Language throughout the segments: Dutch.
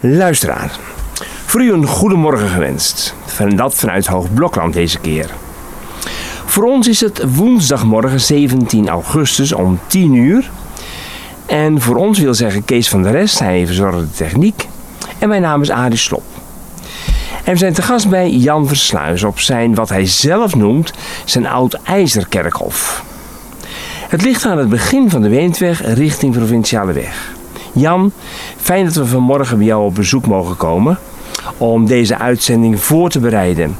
Luisteraar, voor u een goedemorgen gewenst. En dat vanuit Hoogblokland deze keer. Voor ons is het woensdagmorgen 17 augustus om 10 uur. En voor ons wil zeggen Kees van der Rest, hij verzorgt de techniek. En mijn naam is Adi Slop. En we zijn te gast bij Jan Versluis op zijn, wat hij zelf noemt, zijn oud-ijzerkerkhof. Het ligt aan het begin van de Weendweg richting Provinciale Weg. Jan, fijn dat we vanmorgen bij jou op bezoek mogen komen om deze uitzending voor te bereiden.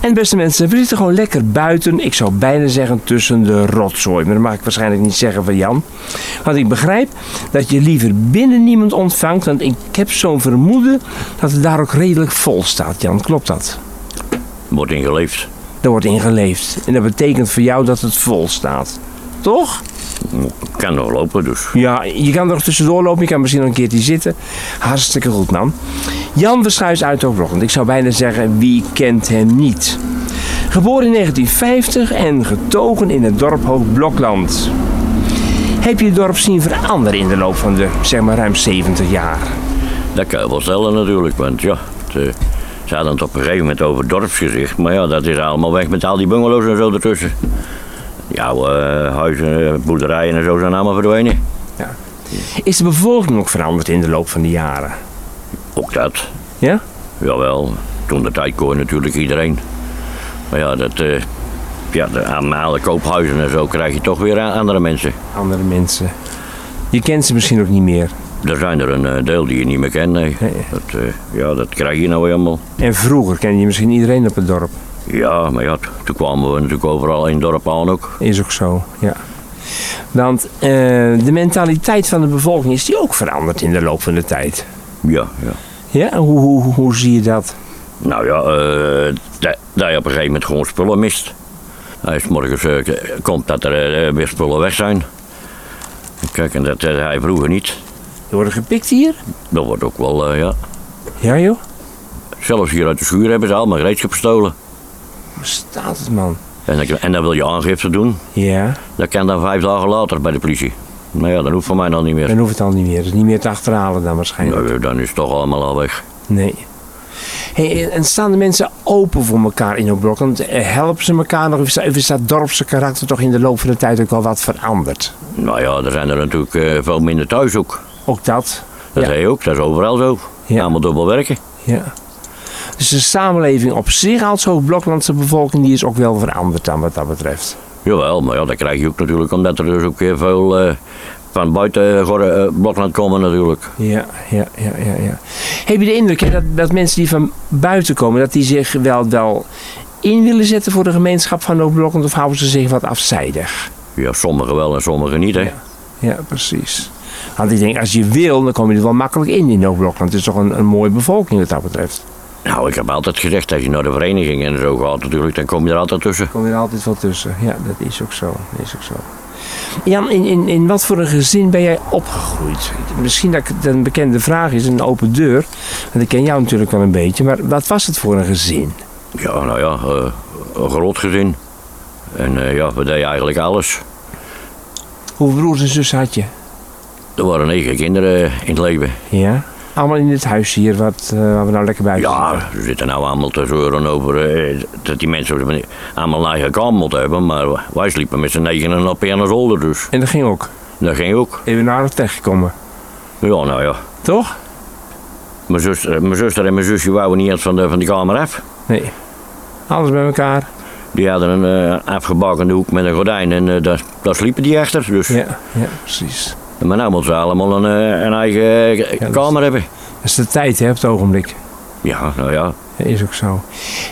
En beste mensen, we zitten gewoon lekker buiten. Ik zou bijna zeggen tussen de rotzooi. Maar dat mag ik waarschijnlijk niet zeggen van Jan. Want ik begrijp dat je liever binnen niemand ontvangt. Want ik heb zo'n vermoeden dat het daar ook redelijk vol staat. Jan, klopt dat? Wordt ingeleefd. Er wordt ingeleefd. En dat betekent voor jou dat het vol staat. Toch? Kan nog lopen dus. Ja, je kan er tussendoor lopen. Je kan misschien nog een keertje zitten. Hartstikke goed, man. Jan Versluis uit Hoogbrokland. Ik zou bijna zeggen, wie kent hem niet? Geboren in 1950 en getogen in het dorp Hoogblokland. Heb je het dorp zien veranderen in de loop van de, zeg maar, ruim 70 jaar? Dat kan je wel stellen natuurlijk, want ja, het, eh, ze hadden het op een gegeven moment over dorpsgezicht. Maar ja, dat is allemaal weg met al die bungalows en zo ertussen. Die oude eh, huizen, eh, boerderijen en zo zijn allemaal verdwenen. Is de bevolking ook veranderd in de loop van de jaren? Ook dat, Ja? jawel. Toen de tijd kon natuurlijk iedereen. Maar ja, dat, eh, ja de, aan alle koophuizen en zo krijg je toch weer a- andere mensen. Andere mensen. Je kent ze misschien ook niet meer. Er zijn er een eh, deel die je niet meer kent, nee. Nee. Dat, eh, ja, dat krijg je nou helemaal. En vroeger kende je misschien iedereen op het dorp. Ja, maar ja, t- toen kwamen we natuurlijk overal in het dorp aan ook. Is ook zo, ja. Want eh, de mentaliteit van de bevolking is die ook veranderd in de loop van de tijd. Ja, ja. Ja, hoe, hoe, hoe zie je dat? Nou ja, eh dat, dat je op een gegeven moment gewoon spullen mist. Als 's morgens eh, k- komt dat er eh, weer spullen weg zijn. Kijk, en dat eh, hij vroeger niet. Je wordt gepikt hier? Dat wordt ook wel, eh, ja. Ja joh, Zelfs hier uit de schuur hebben ze allemaal gereedschap gestolen. waar staat het man? En, dan- en dan wil je aangifte doen. Ja, Dat kan dan vijf dagen later bij de politie. Nou ja, dat hoeft van mij dan niet meer. dan hoeft het al niet meer. Dat is niet meer te achterhalen dan waarschijnlijk. Nou, dan is het toch allemaal al weg. Nee. Hey, en- en staan de mensen open voor elkaar in hun blok? Want eh, helpen ze elkaar nog? Of is dat- of is dat dorpse karakter toch in de loop van de tijd ook wel wat veranderd? Nou ja, er zijn er natuurlijk eh, veel minder thuis ook. Ook dat? Dat Ja. zei je ook, dat is overal zo. Ja. Allemaal dubbel werken. Ja. Dus de samenleving op zich als hoogbloklandse bevolking die is ook wel veranderd dan wat dat betreft. Jawel, maar ja, dat krijg je ook natuurlijk, omdat er dus ook weer veel eh, van buiten eh, Gorre, eh, Blokland komen natuurlijk. Ja, ja, ja, ja. ja. Heb je de indruk hè, dat, dat mensen die van buiten komen, dat die zich wel, wel in willen zetten voor de gemeenschap van hoogblokland of houden ze zich wat afzijdig? Ja, sommigen wel en sommigen niet, hè. Ja. Ja, precies. Want ik denk, als je wil, dan kom je er wel makkelijk in in hoogblokland. Het is toch een, een mooie bevolking wat dat betreft. Nou, ik heb altijd gezegd, als je naar de vereniging en zo gaat natuurlijk, dan kom je er altijd tussen. kom je er altijd wel tussen. Ja, dat is ook zo. Dat is ook zo. Jan, in, in, in wat voor een gezin ben jij opgegroeid? Misschien dat het een bekende vraag is, een open deur. Want ik ken jou natuurlijk wel een beetje. Maar wat was het voor een gezin? Ja, nou ja, eh, een groot gezin. En eh, ja, we deden eigenlijk alles. Hoeveel broers en zussen had je? Er waren negen kinderen eh, in het leven. Ja. Allemaal in dit huis hier, wat, eh, waar we nou lekker buiten zitten. Ja, ze zitten nou allemaal te zeuren over eh, dat die mensen op de manier- allemaal een eigen kamer moeten hebben. Maar wij sliepen met z'n negenen op een zolder dus. En dat ging ook. Dat ging ook. Even naar het terechtgekomen. Ja, nou ja. Toch? Mijn zuster, mijn zuster en mijn zusje wouden niet eens van de, van die kamer af. Nee. Alles bij elkaar. Die hadden een eh afgebakende hoek met een gordijn en eh, daar, daar sliepen die achter. Dus. Ja, ja precies. Maar nou moeten ze allemaal een, eh, een eigen eh, dat is- kamer hebben. Dat is de tijd, hè, op het ogenblik. Ja, nou ja. Dat is ook zo.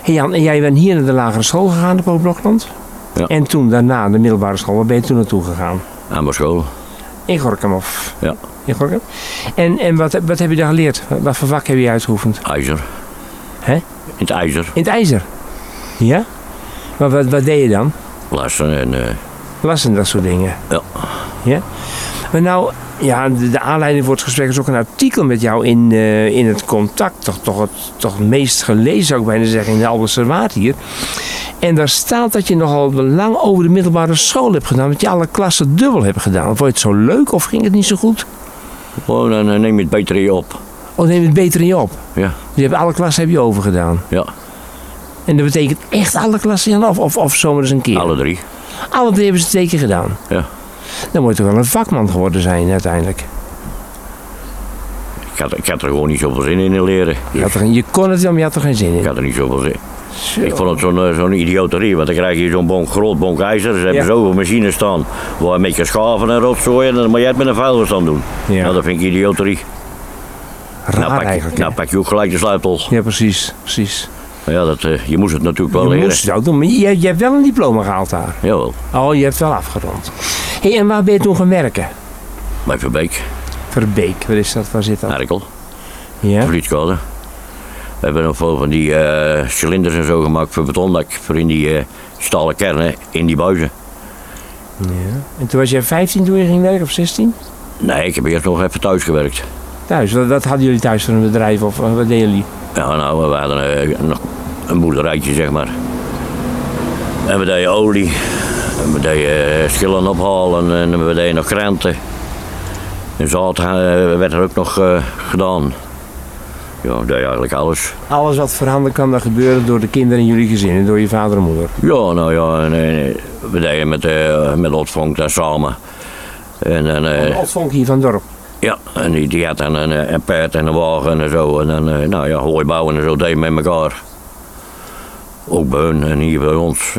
Hey Jan, en jij bent hier naar de lagere school gegaan op Hoogblokland? Ja. En toen daarna naar de middelbare school. Waar ben je toen naartoe gegaan? Aan mijn school. In Gorkum of? Ja. In Gorkum. En, en wat, wat heb je daar geleerd? Wat voor vak heb je uitgeoefend? IJzer. Hè? In het ijzer. In het ijzer. Ja? Maar wat, wat deed je dan? Lassen en... eh, Lassen, dat soort dingen. Ja. Ja? Maar nou, ja, de, de aanleiding voor het gesprek is ook een artikel met jou in, eh, in het contact. Toch, toch, het, toch het meest gelezen, zou ik bijna zeggen, in de Alberserwaard hier. En daar staat dat je nogal lang over de middelbare school hebt gedaan. Dat je alle klassen dubbel hebt gedaan. Vond je het zo leuk of ging het niet zo goed? Oh, dan eh, neem je het beter in je op. Oh, neem het beter in je op. Ja, Dus je hebt alle klassen heb je overgedaan. ja. En dat betekent echt alle klassen in of, of, of zomaar eens een keer. alle drie. Alle drie hebben ze twee keer gedaan. Ja. Dan moet je toch wel een vakman geworden zijn uiteindelijk. Ik had, ik had er gewoon niet zoveel zin in in leren. Je, had er geen- je kon het wel, maar je had er geen zin Ik in. had er niet zoveel zin Zo. Ik vond het zo'n eh, zo'n idioterie, want dan krijg je zo'n bonk, groot bonk ijzer. Ze hebben Ja. zoveel machines staan. Waar een beetje schaven en rotzooien en dan moet jij het met een vuilverstand doen. Ja. Nou, dat vind ik idioterie. Raar nou, pak je, eigenlijk. hè? nou pak je ook gelijk de sleutel. Ja, precies. precies. Maar Ja, dat, eh, je moest het natuurlijk wel je leren. moest het ook doen, maar je, je hebt wel een diploma gehaald daar. Jawel, Oh, je hebt wel afgerond. Hé, en waar ben je toen gaan werken? bij Verbeek, Verbeek, waar is dat? Waar zit dat? Erkel, Ja? Vlietkade. We hebben nog veel van die eh, cilinders en zo gemaakt voor betondak. Voor in die eh, stalen kernen, in die buizen. ja. En toen was jij 15 toen je ging werken, of 16? Nee, ik heb eerst nog even thuis gewerkt. Thuis, wat, wat hadden jullie thuis voor een bedrijf of eh, wat deden jullie? Ja, nou, we hadden eh, nog een boerderijtje, zeg maar. En we deden olie. En we deden eh, schillen ophalen. En we deden nog kranten. En zaad eh, werd er ook nog eh, gedaan. Ja, we deden eigenlijk alles. Alles wat voorhanden kan dan gebeuren door de kinderen in jullie gezin en door je vader en moeder. Ja, nou ja, en, eh, we deden met, eh met Otvank daar samen. En, dan, eh, Of vonk hier van het dorp. ja, en die, die had dan een, eh, een paard en een wagen en zo. En dan, eh, nou ja, hooi bouwen en zo deden we met elkaar. Ook bij hun en hier bij ons.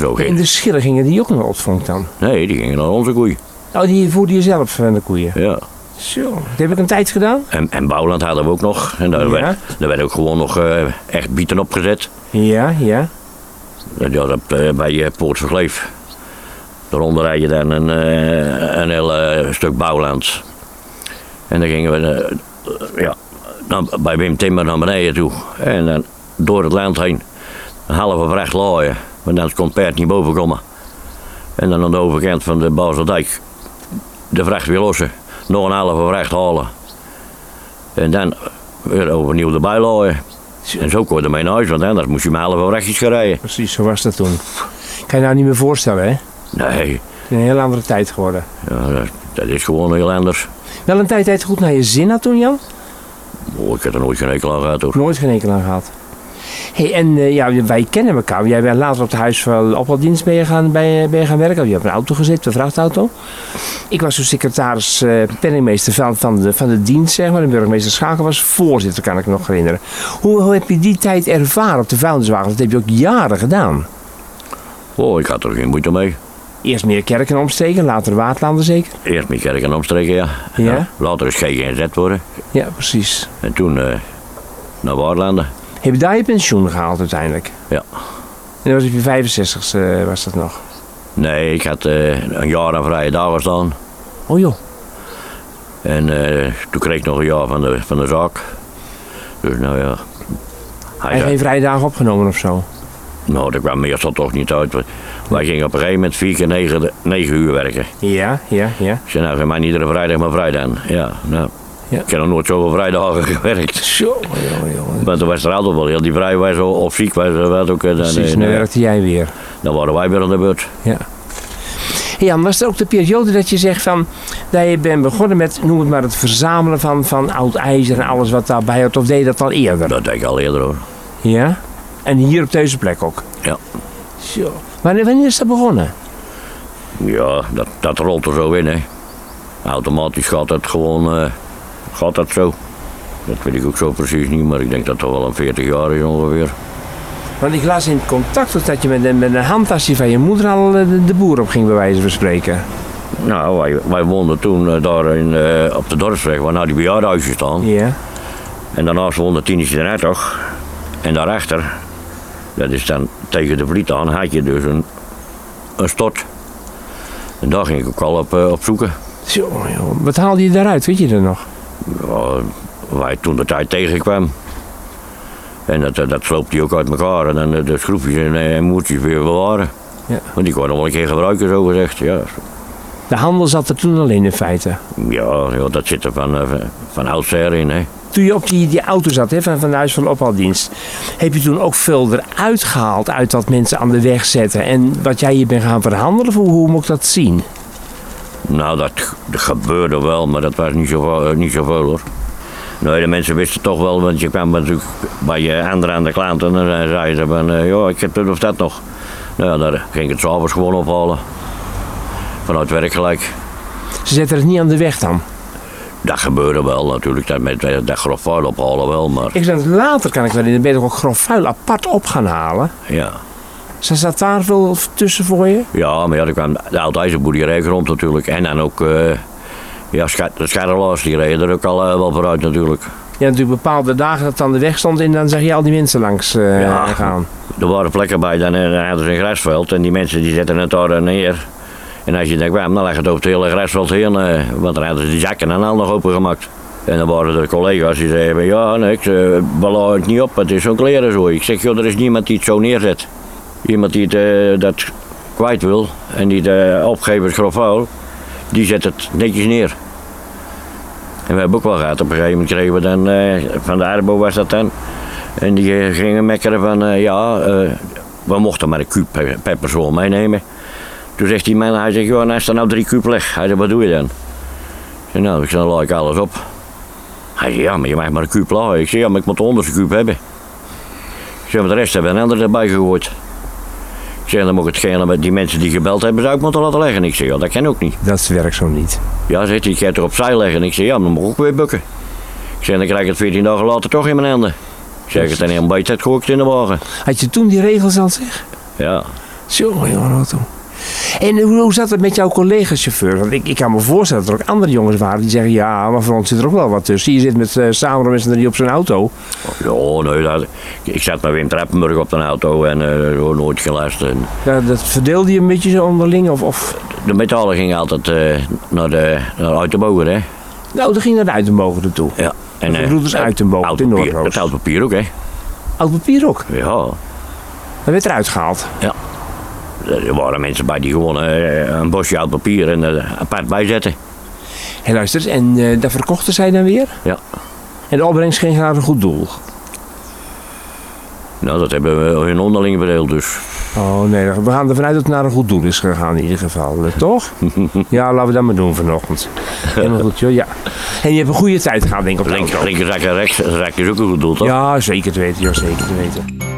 Zo ging In de schillen gingen die ook naar Otvonk dan. Nee, die gingen naar onze koei. Oh, die voerde je zelf van de koeien. Ja. Zo, dat heb ik een tijd gedaan. En, en Bouwland hadden we ook nog. En daar, Ja. werd, daar werd ook gewoon nog eh, echt bieten opgezet. Ja, ja. Dat was op, eh, bij eh, Poort van Kleef. Daaronder had je dan een, eh, een heel eh, stuk bouwland. En dan gingen we eh, ja, dan bij Wim Timmer naar beneden toe. En dan door het land heen. Een halve vracht laaien. Want dan kon het paard niet boven komen. En dan aan de overkant van de Baseldijk de vracht weer lossen. Nog een halve vracht halen. En dan weer overnieuw erbij laaien. En zo kon je ermee naar huis, want anders moest je maar halve vrachtjes gaan rijden. Precies, zo was dat toen. Kan je nou niet meer voorstellen, hè? Het Nee, is een heel andere tijd geworden. ja, dat, dat is gewoon heel anders. Wel een tijd tijd goed naar je zin had toen, Jan? Oh, ik heb er nooit geen enkel aan gehad hoor. Nooit geen enkel aan gehad. hey, en eh, ja, wij kennen elkaar. Jij bent later op de huis van opvaldienst ben je gaan, ben je, ben je gaan werken. Je hebt een auto gezet, een vrachtauto. Ik was toen secretaris, eh penningmeester van, van, de, van de dienst, zeg maar. En burgemeester Schaken was voorzitter, kan ik me nog herinneren. Hoe, hoe heb je die tijd ervaren op de vuilniswagen? Dat heb je ook jaren gedaan. Oh, ik had er geen moeite mee. Eerst meer kerken omsteken, later waterlanden zeker. Eerst mijn kerk en omstreken, ja. Ja? Later is GGZ worden. Ja, precies. En toen eh, naar Waarlanden. Heb je daar je pensioen gehaald uiteindelijk? Ja. En dat was op je 65 e was dat nog. Nee, ik had eh, een jaar aan vrije dagen staan. Oh joh. En eh, toen kreeg ik nog een jaar van de, van de zaak. Dus nou ja. Hij Hij heeft zei, geen vrije dagen opgenomen of zo. nou, dat kwam meestal toch niet uit. want Wij gingen op een gegeven moment vier keer negen, negen uur werken. Ja, ja, ja. Ik zei, nou, geef mij niet iedere vrijdag maar vrijdag. Ja, nou. Ja. Ik heb nog nooit zoveel vrijdagen gewerkt. Zo, jongen, jongen. Want toen was er altijd wel heel die vrij was of of ziek was, eh, wat ook. eh, Dan, eh, Precies, nu dan, werkte jij weer. dan waren wij weer aan de beurt. Ja. Hey Jan, was er ook de periode dat je zegt van, dat je bent begonnen met, noem het maar, het verzamelen van, van oud ijzer en alles wat daarbij hoort, of deed je dat al eerder? Dat deed ik al eerder hoor. Ja? En hier op deze plek ook? Ja. Zo. Wanneer, wanneer is dat begonnen? Ja, dat, dat rolt er zo in hè. Automatisch gaat dat gewoon, eh, gaat dat zo. Dat weet ik ook zo precies niet, maar ik denk dat dat wel een 40 jaar is ongeveer. Want ik las in het contact ook dat je met een, met een handtasje van je moeder al eh, de, de boer op ging bij wijze van spreken. Nou, wij, wij woonden toen eh, daar in, eh, op de dorpsweg, waar nou die bejaardenhuizen staan. Ja. En daarnaast woonde Tinnische de Hertog. En daarachter, dat is dan tegen de Vliet aan, had je dus een, een stort. En daar ging ik ook al op, eh, op zoeken. Zo, joh. Wat haalde je daaruit, weet je dat nog? Ja, eh, waar ik toen de tijd tegenkwam. En dat, eh, dat sloopte hij ook uit elkaar. En dan eh, de schroefjes en, eh, en moertjes weer bewaren. Ja. Want die kon nog wel een keer gebruiken, zo gezegd. Ja, De handel zat er toen al in, in feite. ja, ja, dat zit er van, eh, van- van oudsher in. Hè. Toen je op die, die auto zat hè, van, van de huis van de ophaaldienst, heb je toen ook veel eruit gehaald uit wat mensen aan de weg zetten en wat jij hier bent gaan verhandelen? Hoe, hoe moet ik dat zien? Nou, dat, g- dat gebeurde wel, maar dat was niet zoveel, eh, niet zoveel hoor. Nee, de mensen wisten toch wel, want je kwam natuurlijk bij je andere aan de klant en dan eh, zeiden ze van, eh, joh, ik heb dit of dat nog. Nou ja, daar ging ik het s'avonds gewoon ophalen. Vanuit werk gelijk. Ze zetten het niet aan de weg dan. Dat gebeurde wel natuurlijk, dat, met, eh, dat grof vuil ophalen wel, maar Ik zeg, later kan ik wel in de middag ook grof vuil apart op gaan halen. ja. Ze zat daar veel tussen voor je? Ja, maar ja, er kwam de oud-ijzerboerderij rond natuurlijk. En dan ook eh ja, scha- de scharrelaars, die reden er ook al eh, wel vooruit natuurlijk. Je hebt natuurlijk bepaalde dagen dat het aan de weg stond en dan zag je al die mensen langs eh, Ja. gaan. Er waren plekken bij, dan, eh, dan hadden ze een grasveld en die mensen die zetten het daar neer. En als je denkt, kwam, dan lag het over het hele grasveld heen, eh, want dan hadden ze die zakken en al nog opengemaakt. En dan waren er collega's die zeiden, ja, nee, ik eh, belaai het niet op, het is zo'n klerenzooi. Ik zeg, joh, er is niemand die het zo neerzet. Iemand die het, eh, dat kwijt wil en die de opgevers grof vuil, die zet het netjes neer. En we hebben ook wel gehad, op een gegeven moment kregen we dan, eh, van de Arbo was dat dan, en die eh, gingen mekkeren van, eh, ja, eh, we mochten maar een kuub per, per persoon meenemen. Toen zegt die man, hij zegt, joh, nou is er nou drie kuub leg. Hij zegt, wat doe je dan? Ik zeg, nou, ik zeg, dan laai ik alles op. Hij zegt, ja, maar je mag maar een kuub laaien. Ik zeg, ja, maar ik moet de onderste kuub hebben. Ik zeg, maar de rest hebben een ander erbij gegooid. Ik zeg, dan moet ik hetgene met die mensen die gebeld hebben, zou ik moeten laten leggen. Ik zeg, ja, dat kan ook niet. Dat werkt zo niet. Ja, zegt hij, ik ga het er opzij leggen. Ik zeg, ja, maar dan moet ik ook weer bukken. Ik zeg, dan krijg ik het 14 dagen later toch in mijn handen. Ik zeg, het en een beetje, het gooi ik het in de wagen. Had je toen die regels al zeg? Ja, Tjonge jongen, wat toen. En hoe, hoe zat het met jouw collega-chauffeur? Want ik, ik kan me voorstellen dat er ook andere jongens waren die zeggen... ja, maar voor ons zit er ook wel wat tussen. Je zit met eh samen met z'n drie op zijn auto. ja oh, nee, dat, ik zat met Wim Trappenburg op de auto en eh, zo nooit gelast. En Dat, dat verdeelde je een beetje zo onderling? Of, of... de metalen gingen altijd eh, naar de, naar uit de bogen, hè? Nou, dan ging naar de Uitenbogen ertoe. Ja. En, De eh, broeders uit de bogen, oud dus in papier- Noordroos. Het oud papier ook, hè? Oud papier ook. Ja. Dat werd eruit gehaald. Er waren mensen bij die gewoon eh, een bosje oud papier en eh, apart bijzetten. Hé, luister, eens, en eh dat verkochten zij dan weer? Ja. En de opbrengst ging naar een goed doel? Nou, dat hebben we hun onderling verdeeld, dus. Oh nee, we gaan ervan uit dat het naar een goed doel is gegaan in ieder geval, eh, toch? ja, laten we dat maar doen vanochtend. Helemaal goed, joh, ja. En je hebt een goede tijd gehad, denk ik, op de Linker, auto. linkerzak en rechtsrak is ook een goed doel, toch? Ja, zeker te weten, ja, zeker te weten.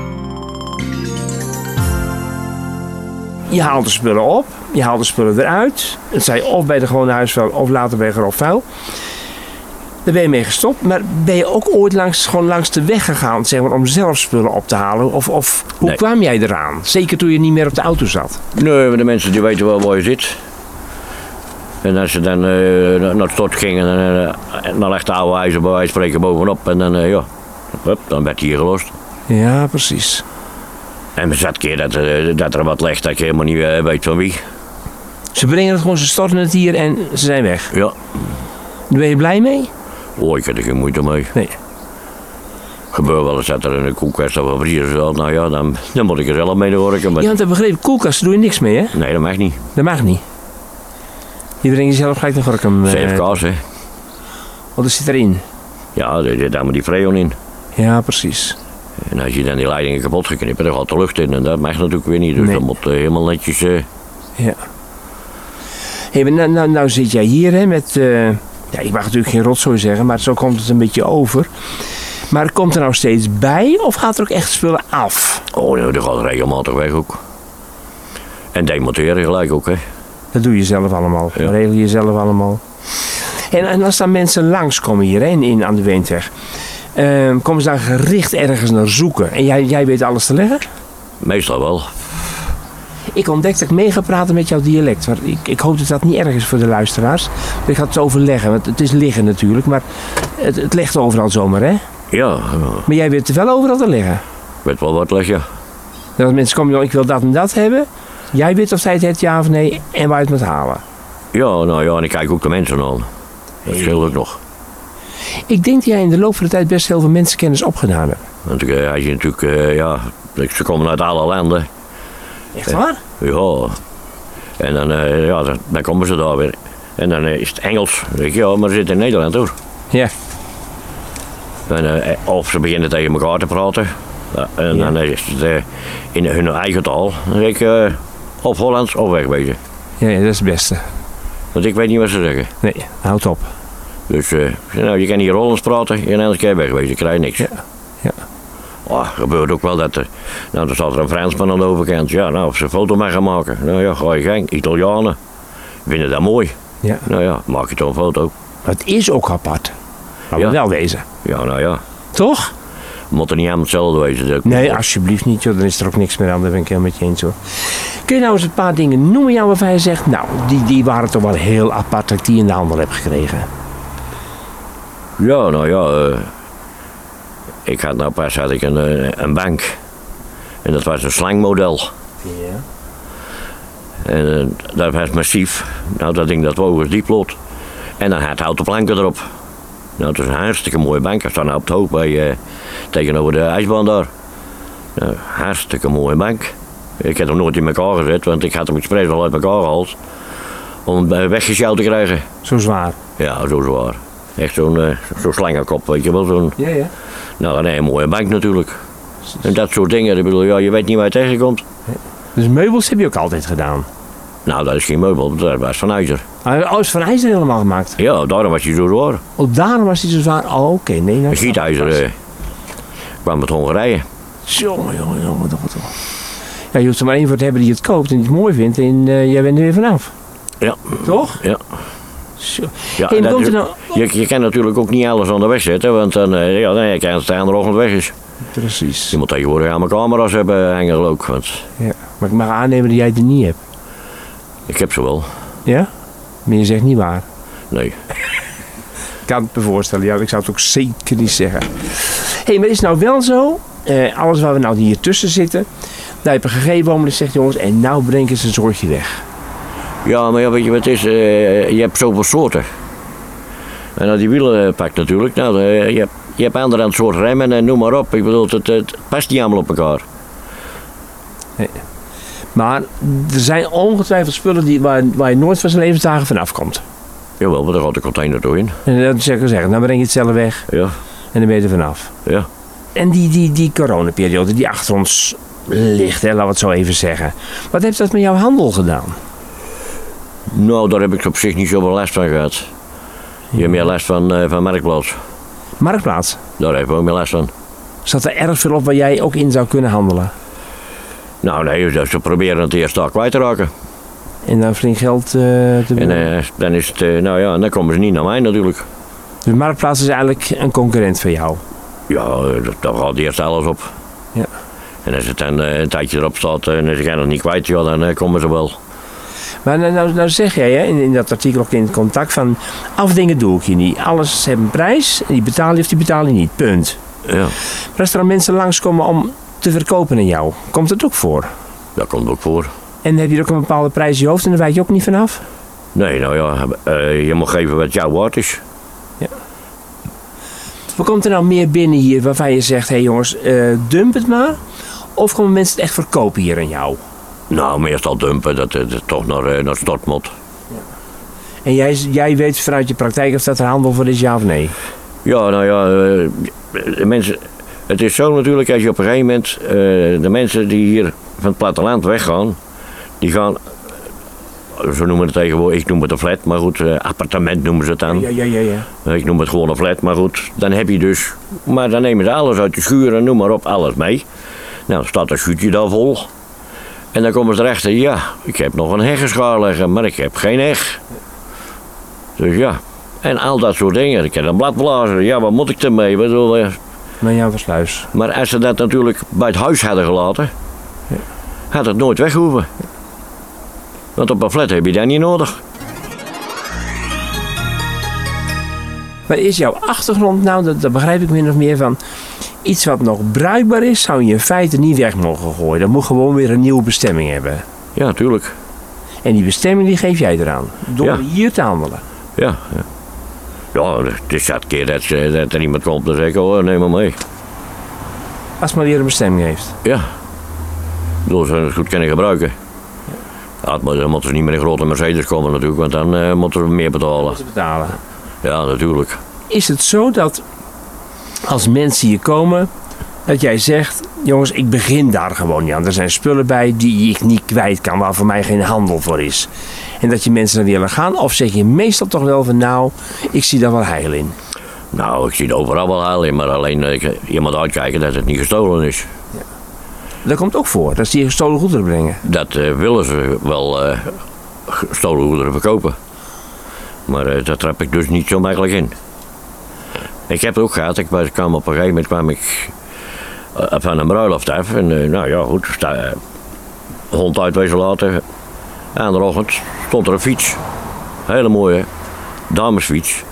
Je haalt de spullen op, je haalt de spullen eruit. Het zij of bij de gewone huisvuil of later bij grof vuil. Daar ben je mee gestopt, maar ben je ook ooit langs, gewoon langs de weg gegaan zeg maar, om zelf spullen op te halen? Of, of hoe Nee. kwam jij eraan? Zeker toen je niet meer op de auto zat. Nee, maar de mensen die weten wel waar je zit. En als ze dan eh, naar het stort gingen, dan, eh, dan lag de oude ijzer bij wijze van spreken bovenop. En dan, eh, ja, hup, dan werd die hier gelost. Ja, precies. En er zat keer dat, eh, dat er wat ligt dat ik helemaal niet eh, weet van wie. Ze brengen het gewoon, ze storten het hier en ze zijn weg. Ja, Daar ben je blij mee? oh, ik had er geen moeite mee. Nee. Gebeurt wel eens dat er in de koelkast of een vriezer zat. Nou ja, dan, dan moet ik er zelf mee werken. Maar Ja, want dat begreep ik. Koelkast, daar doe je niks mee, hè? nee, dat mag niet. Dat mag niet. Je brengt jezelf gelijk naar Gorkum. eh, CFK's, hè. Want dat zit erin. Ja, daar zit allemaal die freon in. Ja, precies. En als je dan die leidingen kapot geknipt, dan gaat de lucht in. En dat mag natuurlijk weer niet. Dus Nee. dan moet eh, helemaal netjes... eh, Ja. Hé, maar nou, nou, nou zit jij hier, hè, met... eh, ja, ik mag natuurlijk geen rotzooi zeggen, maar zo komt het een beetje over. Maar komt er nou steeds bij of gaat er ook echt spullen af? Oh, nou, dat gaat regelmatig weg ook. En demonteren gelijk ook, hè. Dat doe je zelf allemaal. Ja. Dat regel je zelf allemaal. En, en als dan mensen langskomen hier hè, in, in aan de Weentweg, ehm, komen ze dan gericht ergens naar zoeken? En jij, jij weet alles te leggen? Meestal wel. Ik ontdekte dat ik mee ga praten met jouw dialect. Maar ik, ik hoop dat dat niet erg is voor de luisteraars. Maar ik ga het overleggen, want het is liggen natuurlijk. Maar het, het legt overal zomaar, hè? Ja, eh, Maar jij weet wel overal te liggen. weet wel wat leg je. Dat mensen komen, joh, ik wil dat en dat hebben. Jij weet of zij het heeft, ja of nee, en waar je het moet halen. Ja, nou ja, en ik kijk ook de mensen aan. Dat Hey. scheelt ook nog. Ik denk dat jij in de loop van de tijd best heel veel mensenkennis opgedaan hebt. Want eh, als je natuurlijk, eh, ja, ze komen uit alle landen. Echt waar? Ja. En dan, eh, ja, dan, dan komen ze daar weer. En dan eh, is het Engels. Dan denk ik, ja, maar ze zitten in Nederland, hoor. Ja. En, eh, of ze beginnen tegen elkaar te praten. Ja, en Ja. dan is het eh, in hun eigen taal. Dan zeg ik, eh, of Hollands of wegwezen. Ja, ja, dat is het beste. Want ik weet niet wat ze zeggen. Nee, houd op. Dus eh, ik zei, nou, je kan hier Hollands praten, je kan anders keer wegwezen, je krijgt niks. Ja, ja. Oh, gebeurt ook wel dat er, nou, er zat er een Fransman aan de overkant. Ja, nou, of ze een foto mee gaan maken. Nou ja, ga je gang. Italianen. Vinden dat mooi. Ja. Nou ja, maak je toch een foto. Het is ook apart. Laten we Ja. wel wezen. Ja, nou ja. Ah, Toch? Moet er niet aan hetzelfde wezen. dus dat- Nee, alsjeblieft niet. Joh. Dan is er ook niks meer aan. Daar ben ik helemaal met je eens hoor. Kun je nou eens een paar dingen noemen, Jan, waarvan je zegt... Nou, die, die waren toch wel heel apart dat ik die in de handel heb gekregen. Ja, nou ja. eh, ik had nou pas had ik een, eh, een bank. En dat was een slangmodel. Ja. En eh, dat was massief. Nou, dat ding dat woog als die plot. En dan had houten planken erop. Nou, het is een hartstikke mooie bank. Dat staat nou op het hoog bij, eh, tegenover de ijsbaan daar. Nou, hartstikke mooie bank. Ik heb hem nooit in elkaar gezet, want ik had hem expres al uit elkaar gehaald. Om hem eh, weggesjouwd te krijgen. Zo zwaar. Ja, zo zwaar. Echt zo'n eh, zo'n slangenkop, weet je wel. Zo'n, Ja, ja. nou, nee, een mooie bank natuurlijk. En dat soort dingen, ik bedoel, ja, je weet niet waar je tegenkomt. Dus meubels heb je ook altijd gedaan. Nou, dat is geen meubel, dat was van ijzer. Ah, Oh, is van ijzer helemaal gemaakt. Ja, daarom was hij zo zwaar. Oh, daarom was hij zo zwaar. Oh, oké. Nee, nou... Een gietijzer eh, kwam uit Hongarije. Jongen, jongen, jongen. Toch, toch. Ja, je hoeft er maar één voor te hebben die het koopt en die het mooi vindt. En eh, jij bent er weer vanaf. Ja. Toch? Ja. Zo. Ja, Hey, dat komt er is- nou- je, je kan natuurlijk ook niet alles aan de weg zetten, want dan eh, ja, nee, je kan het aan de ochtend weg is. Precies. Je moet tegenwoordig allemaal camera's hebben hangen ook, want Ja. Maar ik mag aannemen dat jij het er niet hebt. ik heb ze wel. Ja? Maar je zegt niet waar. Nee. Ik kan het me voorstellen. Ja, ik zou het ook zeker niet zeggen. Hé, hey, maar is het nou wel zo? eh, alles waar we nou hier tussen zitten. Nou, heb een gegeven moment zegt jongens, en nou brengen ze een soortje weg. Ja, maar ja, weet je wat het is? eh, je hebt zoveel soorten. En nou, die wielenpak natuurlijk, nou, eh, je, hebt- je hebt andere aan het soort remmen en noem maar op. Ik bedoel, het, het past niet allemaal op elkaar. Maar er zijn ongetwijfeld spullen die, waar, waar je nooit van zijn levensdagen vanaf komt. Jawel, maar daar gaat de container door in. En dat zou ik zeggen, dan breng je het zelf weg Ja, en dan ben je er vanaf. ja. En die, die, die coronaperiode die achter ons ligt, hè, laten we het zo even zeggen. Wat heeft dat met jouw handel gedaan? Nou, daar heb ik op zich niet zoveel last van gehad. Je hebt meer last van, eh van Marktplaats. Marktplaats, Daar heb ik ook meer last van. zat er erg veel op waar jij ook in zou kunnen handelen. Nou nee, dus ze proberen het eerst daar kwijt te raken. En dan flink geld eh, te En doen. eh, dan is het, eh, nou ja, dan komen ze niet naar mij natuurlijk. Dus Marktplaats is eigenlijk een concurrent van jou. Ja, eh, dat- daar gaat eerst alles op. Ja. En als het dan eh, een tijdje erop staat eh, en ze gaan het niet kwijt, ja, dan eh, komen ze wel. Maar nou, nou, nou zeg jij hè, in, in dat artikel ook in het contact van... afdingen doe ik je niet. Alles heeft een prijs. En die betaal je of die betaal je niet. Punt. Ja, Maar als er dan mensen langskomen om te verkopen aan jou... komt dat ook voor. dat komt ook voor. En heb je ook een bepaalde prijs in je hoofd... en daar wijk je ook niet vanaf? Nee, nou ja, eh, je moet geven wat jouw waard is. Wat komt er nou meer binnen hier waarvan je zegt... hé hey jongens, eh, dump het maar... of komen mensen het echt verkopen hier aan jou? Nou, meestal dumpen, dat het toch naar, eh, naar stort moet. En jij, jij weet vanuit je praktijk of dat er handel voor is, ja of nee? Ja, nou ja, eh, de mensen, het is zo natuurlijk als je op een gegeven moment eh, de mensen die hier van het platteland weggaan, die gaan, eh, zo noemen het tegenwoordig, ik noem het een flat, maar goed, eh, appartement noemen ze het dan. Ja, ja, ja. ja. Eh, Ik noem het gewoon een flat, maar goed, dan heb je dus, maar dan nemen ze alles uit de schuur en noem maar op, alles mee. Nou, dan staat een schuurtje daar vol. En dan komen ze erachter, ja, ik heb nog een heggeschaar liggen, maar ik heb geen heg. Dus ja, en al dat soort dingen. Ik heb een bladblazer, ja, wat moet ik ermee? Ik bedoel, eh, Maar Jan Versluis. Maar als ze dat natuurlijk bij het huis hadden gelaten, had het nooit weg hoeven. Want op een flat heb je dat niet nodig. Maar is jouw achtergrond nou, dat, dat begrijp ik min of meer van... iets wat nog bruikbaar is, zou je in feite niet weg mogen gooien. Dat moet gewoon weer een nieuwe bestemming hebben. Ja, tuurlijk. En die bestemming die geef jij eraan. Door Ja. hier te handelen. Ja, ja. Ja, het is dat keer dat, ze- dat er iemand komt en zegt, oh, neem maar mee. Als het maar weer een bestemming heeft. Ja. Door ze het goed kunnen gebruiken. Ja, het moet- dan moeten ze niet met een grote Mercedes komen natuurlijk, want dan eh, moeten ze meer betalen. Om te betalen. Ja, natuurlijk. Is het zo dat als mensen hier komen, dat jij zegt, Jongens, ik begin daar gewoon niet aan. Er zijn spullen bij die ik niet kwijt kan, waar voor mij geen handel voor is. En dat je mensen dan willen gaan, of zeg je meestal toch wel van nou, ik zie daar wel heil in. Nou, ik zie het overal wel heil in, maar alleen eh, ik- iemand uitkijken dat het niet gestolen is. Dat komt ook voor, dat ze je gestolen goederen brengen. Dat eh, willen ze wel eh, gestolen goederen verkopen. Maar eh, daar trap ik dus niet zo makkelijk in. Ik heb het ook gehad, ik was- kwam op een gegeven moment kwam ik eh, van een bruiloft af. En eh, nou ja, goed, sta, eh, hond uitwezen laten. Aan de ochtend stond er een fiets. Hele mooie damesfiets.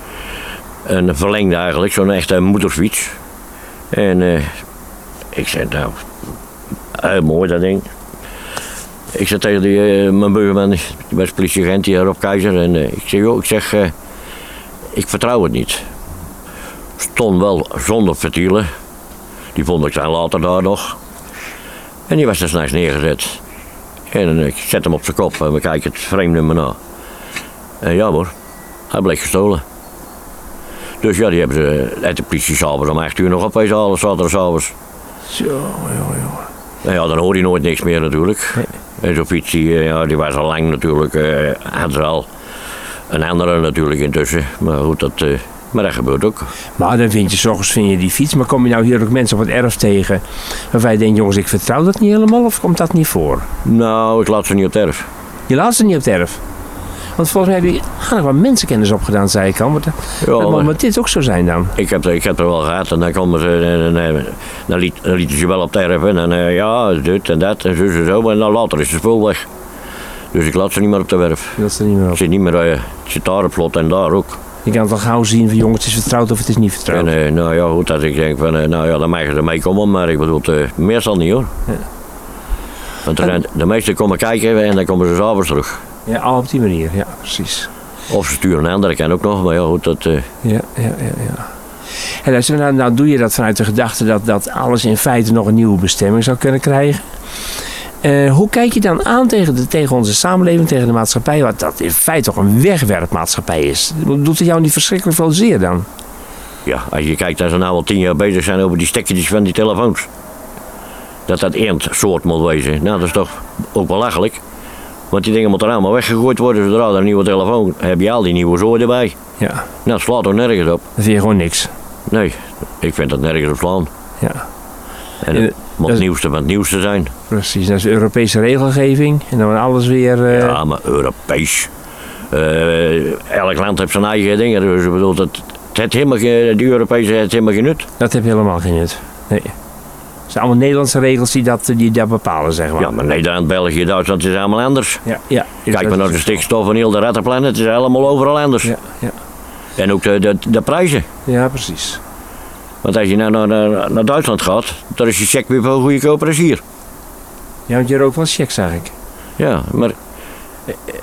Een verlengde eigenlijk, zo'n echte moedersfiets. En eh, ik zei nou, heel mooi dat ding. Ik zei tegen die, eh, mijn buurman, die was politieagent, die Rob Keizer. En eh, ik zeg, joh, ik zeg, eh, ik vertrouw het niet. Stond wel zonder ventielen. Die vond ik dan later daar nog. En die was er s'nachts neergezet. En eh, ik zet hem op zijn kop en we kijken het frame-nummer na. En ja hoor, hij bleek gestolen. Dus ja, die hebben ze uit de politie s'avonds om 8 uur nog opwezen halen, zaterdagavonds. Zo, joh, joh. Nou ja, dan hoor je nooit niks meer natuurlijk. En zo'n fiets, die, eh, ja, die was al lang natuurlijk, eh, had er al een andere natuurlijk intussen. Maar goed, dat, eh, maar dat gebeurt ook. Maar dan vind je, s ochtends vind je die fiets, maar kom je nou hier ook mensen op het erf tegen waarvan je denkt, jongens, ik vertrouw dat niet helemaal, of komt dat niet voor? Nou, ik laat ze niet op het erf. Je laat ze niet op het erf. Want volgens mij heb je aardig wat mensenkennis opgedaan, zei ik al. Maar dat- Ja, dat moet maar met dit ook zo zijn dan. ik, heb, ik heb er wel gehad en dan komen ze, eh, en, en, en, dan, liet, dan lieten ze wel op het erf. En dan, eh, ja, dit en dat en zo en zo. Maar nou, later is de spul weg. Dus ik laat ze niet meer op de werf. Dat is er niet meer op. Het zit niet meer, eh, het zit daar op slot en daar ook. Je kan het al gauw zien van jongens, het is vertrouwd of het is niet vertrouwd. En eh, nou ja, goed, dat ik denk van, eh, nou ja, dan mag je ermee komen, maar ik bedoel, eh, meestal niet hoor. Ja. Want er zijn, de meesten komen kijken en dan komen ze s'avonds terug. Ja, al op die manier, ja, precies. Of ze sturen een ander, dat kan ook nog, maar ja, goed, dat... eh, Ja, ja, ja, ja. En luister, nou, nou doe je dat vanuit de gedachte dat, dat alles in feite nog een nieuwe bestemming zou kunnen krijgen. Eh, hoe kijk je dan aan tegen, de, tegen onze samenleving, tegen de maatschappij, wat dat in feite toch een wegwerpmaatschappij is? Doet het jou niet verschrikkelijk veel zeer dan? ja, als je kijkt dat ze nou al tien jaar bezig zijn over die stekkertjes van die telefoons. Dat dat eendsoort moet wezen. Nou, dat is toch ook belachelijk. Want die dingen moeten allemaal weggegooid worden zodra er een nieuwe telefoon... heb je al die nieuwe zooi erbij. Ja, Nou, dat slaat toch nergens op? dat vind je gewoon niks. Nee, ik vind dat nergens op slaan. Ja, En Eh, het moet dat- het nieuwste van het nieuwste zijn. precies. Dat is Europese regelgeving en dan wordt alles weer... eh, Ja, maar Europees. Eh, elk land heeft zijn eigen dingen. Dus ik bedoel, dat, het heeft helemaal geen, die Europese het heeft helemaal geen nut. Dat heb je helemaal geen nut. Nee. Het zijn allemaal Nederlandse regels die dat, die dat bepalen, zeg maar. Ja, maar Nederland, België, Duitsland het is allemaal anders. ja, ja. Kijk maar naar de stikstof en heel de rattenplannen. Het is allemaal overal anders. Ja, ja. En ook de, de, de prijzen. ja, precies. Want als je nou naar, naar, naar Duitsland gaat, dan is je check weer veel goedkoper als hier. Ja, want je rookt wel check, zag ik. Ja, maar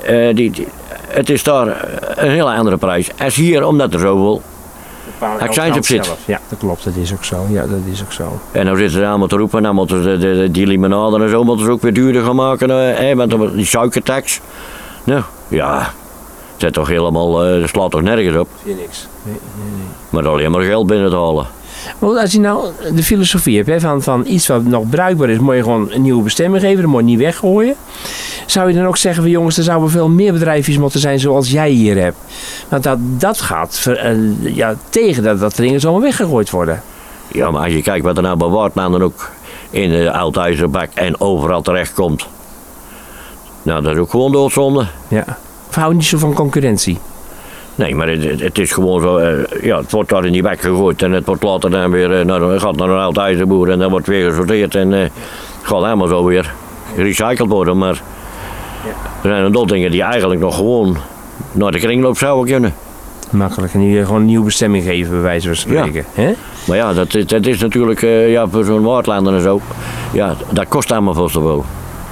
eh, eh, die, die- het is daar een hele andere prijs. Als hier, omdat er zoveel... Accijns op zit. Ja, dat klopt. Dat is ook zo. Ja, dat is ook zo. En dan zitten ze allemaal te roepen, dan moeten ze de, de, die limonade en zo moeten ze ook weer duurder gaan maken. eh, Hè, want dan wordt die suikertax. Nou, ja, het is toch helemaal, eh, dat slaat toch nergens op. Vind je niks. Maar alleen maar geld binnen te halen. Want als je nou de filosofie hebt hè, van, van iets wat nog bruikbaar is, moet je gewoon een nieuwe bestemming geven, dat moet je niet weggooien. Zou je dan ook zeggen van jongens, er zouden veel meer bedrijfjes moeten zijn zoals jij hier hebt. Want dat, dat gaat ver- eh, ja, tegen dat, dat dingen zomaar weggegooid worden. Ja, maar als je kijkt wat er nou bij Wartman dan ook in de oud-ijzerbak en overal terechtkomt. Nou, dat is ook gewoon doodzonde. Ja. Of hou je niet zo van concurrentie. Nee, maar het- het, het is gewoon zo, eh, ja, het wordt daar in die bak gegooid en het wordt later dan weer, eh, naar, gaat naar een oud ijzerboer en dan wordt weer gesorteerd en eh, het gaat helemaal zo weer gerecycled worden. Maar er zijn een dol dingen die eigenlijk nog gewoon naar de kringloop zouden kunnen. Makkelijk. En nu gewoon een nieuwe bestemming geven, bij wijze van spreken. Hè? Maar ja, dat, is- dat is natuurlijk, eh, ja, voor zo'n waardlander en zo, ja, dat kost allemaal veel te veel.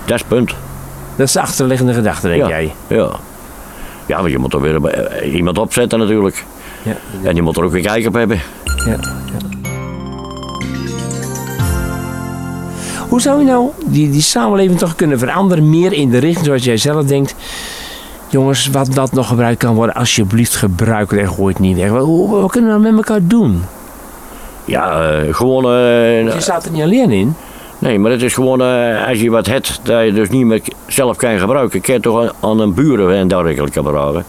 Dat is het punt. Dat is de achterliggende gedachte, denk ja. jij. Ja. Ja, want je moet er weer eh, iemand opzetten natuurlijk. Ja. En je moet er ook weer kijk op hebben. Hoe zou je nou die, die samenleving toch kunnen veranderen, meer in de richting zoals jij zelf denkt? Jongens, wat dat nog gebruikt kan worden, alsjeblieft gebruik het en gooi het niet weg. Wat, hoe- wat kunnen we nou met elkaar doen? Ja, eh, gewoon... eh, Je staat er niet alleen in. Nee, maar het is gewoon eh, als je wat hebt dat je dus niet meer k- zelf kan gebruiken. Kan je toch aan, aan een buren en dergelijke vragen.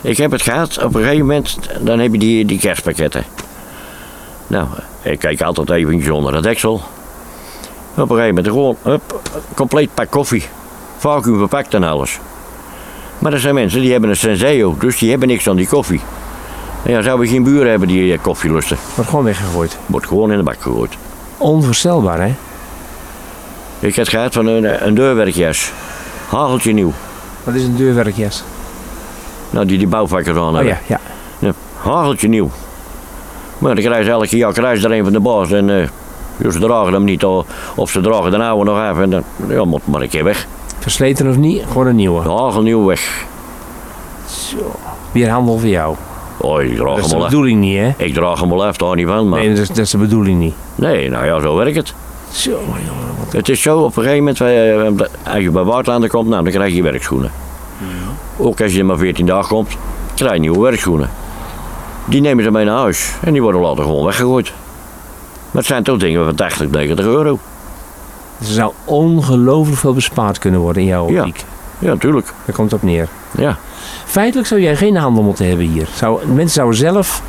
Ik heb het gehad, op een gegeven moment dan heb je die, die kerstpakketten. Nou, ik kijk altijd eventjes onder het deksel. Op een gegeven moment gewoon, hup, compleet pak koffie. Vacuüm verpakt en alles. Maar er zijn mensen die hebben een senseo, dus die hebben niks aan die koffie. En ja, zou je geen buren hebben die eh, koffie lusten? Wordt gewoon weggegooid. Wordt gewoon in de bak gegooid. Onvoorstelbaar, hè? Ik heb gehad van een, een deurwerkjas. Hageltje nieuw. Wat is een deurwerkjas? Nou, die die bouwvakkers aan Oh hebben. ja, ja. Ja, hageltje nieuw. Maar dan krijg je elke jaar krijg je er een van de baas. En eh, ja, ze dragen hem niet. Of of ze dragen de oude nog af. En dan ja, moet maar een keer weg. Versleten of niet, gewoon een nieuwe. De hagel nieuw weg. Weer handel voor jou. Oh, ik draag Dat is hem de wel af. bedoeling niet, hè? Ik draag hem wel af, daar niet van. Maar Nee, nee. dat is, dat is de bedoeling niet. nou ja, zo werkt het. Zo, jongen. wat- Het is zo, op een gegeven moment, eh, als je bij Waardlanden komt, nou, dan krijg je werkschoenen. Ook als je er maar 14 dagen komt, krijg je nieuwe werkschoenen. Die nemen ze mee naar huis en die worden later gewoon weggegooid. Maar het zijn toch dingen van 80, 90 euro. Er zou ongelooflijk veel bespaard kunnen worden in jouw Ja. optiek. Ja, tuurlijk. Daar komt het op neer. Ja. Feitelijk zou jij geen handel moeten hebben hier. Zou, mensen zouden zelf,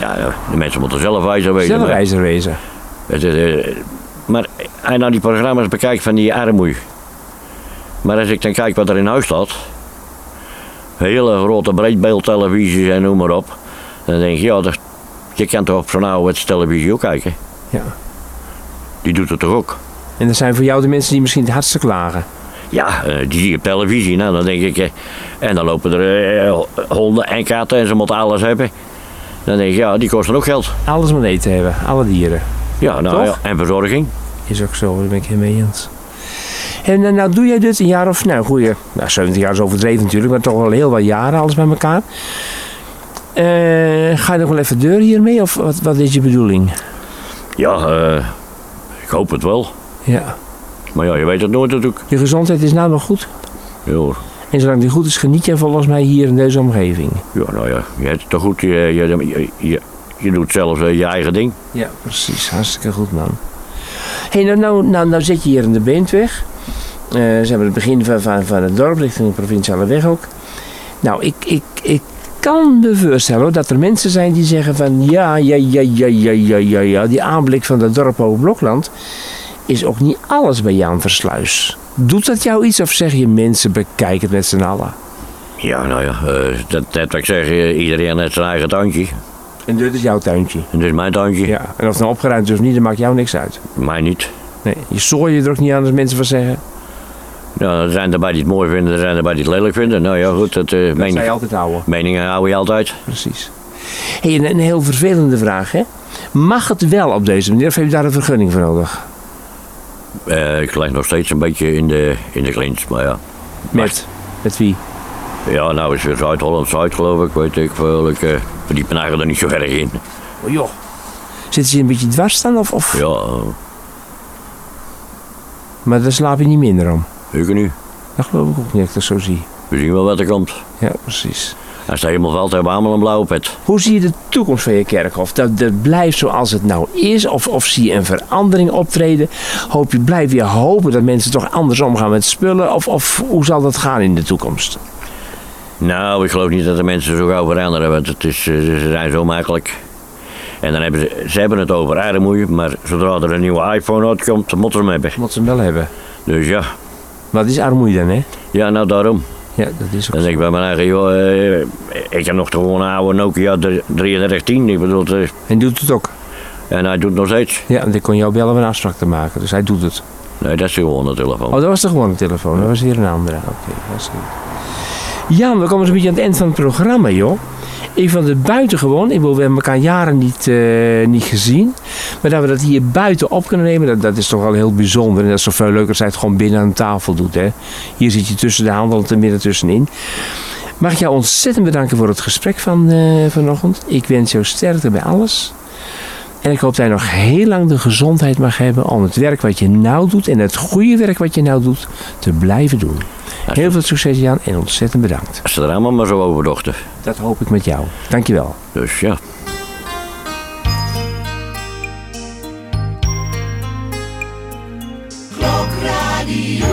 Ja, ja, de mensen moeten zelf wijzer wezen. zelf maar- wijzer wezen. Het is, eh, maar als je nou die programma's bekijkt van die armoei. Maar als ik dan kijk wat er in huis staat. Hele grote breedbeeldtelevisies en noem maar op. Dan denk je, ja, dat, je kan toch op zo'n ouderwetse televisie ook kijken. Ja. Die doet het toch ook? En dat zijn voor jou de mensen die misschien het hardste klagen. Ja, eh, die zie je op televisie. Nou, dan denk ik, eh, en dan lopen er eh, honden en katten en ze moeten alles hebben. Dan denk je, ja, die kosten ook geld. Alles maar eten hebben, alle dieren. Ja, nou, Toch? ja, en verzorging. Is ook zo, daar ben ik helemaal mee eens. En eh, nou doe jij dit een jaar of, nou goeie, nou 70 jaar is overdreven natuurlijk, maar toch wel heel wat jaren alles bij elkaar. Eh, ga je nog wel even deur hiermee of wat, wat is je bedoeling? Ja, eh, ik hoop het wel. Ja. Maar ja, je weet het nooit natuurlijk. Je gezondheid is nou nog goed. Ja, hoor. En zolang die goed is, geniet jij volgens mij hier in deze omgeving. ja nou ja, je hebt het toch goed. Je, je, je, je, je doet zelfs eh, je eigen ding. Ja, precies. Hartstikke goed, man. hey, nou, nou, nou, nou zit je hier in de Beentweg. Eh ze hebben het begin van, van, van het dorp, richting de provinciale weg ook. Nou, ik, ik, ik kan me voorstellen hoor, dat er mensen zijn die zeggen van... Ja, ja, ja, ja, ja, ja, ja, ja. Die aanblik van het dorp over Blokland is ook niet alles bij Jan Versluis. Doet dat jou iets of zeg je mensen bekijken het met z'n allen? Ja, nou ja, eh, dat, dat wat ik zeg, eh, iedereen heeft zijn eigen tuintje. En dit is jouw tuintje. En dit is mijn tuintje, Ja, en of het nou opgeruimd is of niet, dat maakt jou niks uit. mij niet. Nee, je zooi je er ook niet aan als mensen van zeggen. Ja, er zijn erbij die het mooi vinden, er zijn erbij die het lelijk vinden. Nou ja, goed, dat, eh, Dat mening- zij altijd houden. meningen houden je altijd. Precies. Hey, een, een heel vervelende vraag, hè? Mag het wel op deze manier of heb je daar een vergunning voor nodig? Eh, ik leg nog steeds een beetje in de, in de clinch, maar ja. Met? Met wie? Ja, nou is weer Zuid-Holland-Zuid geloof ik, weet ik veel. Ik eh, verdiep me eigenlijk er niet zo erg in. Oh, joh. Zitten ze je een beetje dwars dan? Of, of? Ja, eh, Maar daar slaap je niet minder om. ik nu. Dat geloof ik ook niet dat ik dat zo zie. We zien wel wat er komt. Ja, precies. Als het helemaal valt, hebben we allemaal een blauwe pet. Hoe zie je de toekomst van je kerkhof? Dat, dat blijft zoals het nou is? Of, of zie je een verandering optreden? Hoop je, blijf je hopen dat mensen toch anders omgaan met spullen? Of, of hoe zal dat gaan in de toekomst? Nou, ik geloof niet dat de mensen zo gauw veranderen, want het is, eh, ze zijn zo makkelijk. En dan hebben ze, ze hebben het over armoede, maar zodra er een nieuwe iPhone uitkomt, dan moeten ze hem hebben. Wat ze hem wel hebben. Dus ja, Wat is armoede dan, hè? ja nou daarom. Ja, dat is ook Dan denk ik bij mijn eigen, joh, eh, ik heb nog gewoon een oude Nokia 3310, ik bedoel, eh, En doet het ook. en hij doet het nog steeds. Ja, want ik kon jou bellen om een afspraak te maken. Dus hij doet het. Nee, dat is gewoon de telefoon. Oh, dat was toch gewoon een telefoon? Dat was weer een andere. Oké, was goed. Jan, we komen een beetje aan het eind van het programma, joh. Ik vond het buitengewoon. Ik bedoel, we hebben elkaar jaren niet, eh, niet gezien. Maar dat we dat hier buiten op kunnen nemen, dat, dat is toch wel heel bijzonder. En dat is toch veel leuker als hij het gewoon binnen aan de tafel doet. Hè? Hier zit je tussen de handel en midden tussenin. Mag ik jou ontzettend bedanken voor het gesprek van eh, vanochtend. Ik wens jou sterkte bij alles. En ik hoop dat jij nog heel lang de gezondheid mag hebben om het werk wat je nou doet en het goede werk wat je nou doet te blijven doen. Heel veel succes Jan en ontzettend bedankt. Als ze er allemaal maar zo over dachten. Dat hoop ik met jou. Dankjewel. Dus ja. Radio.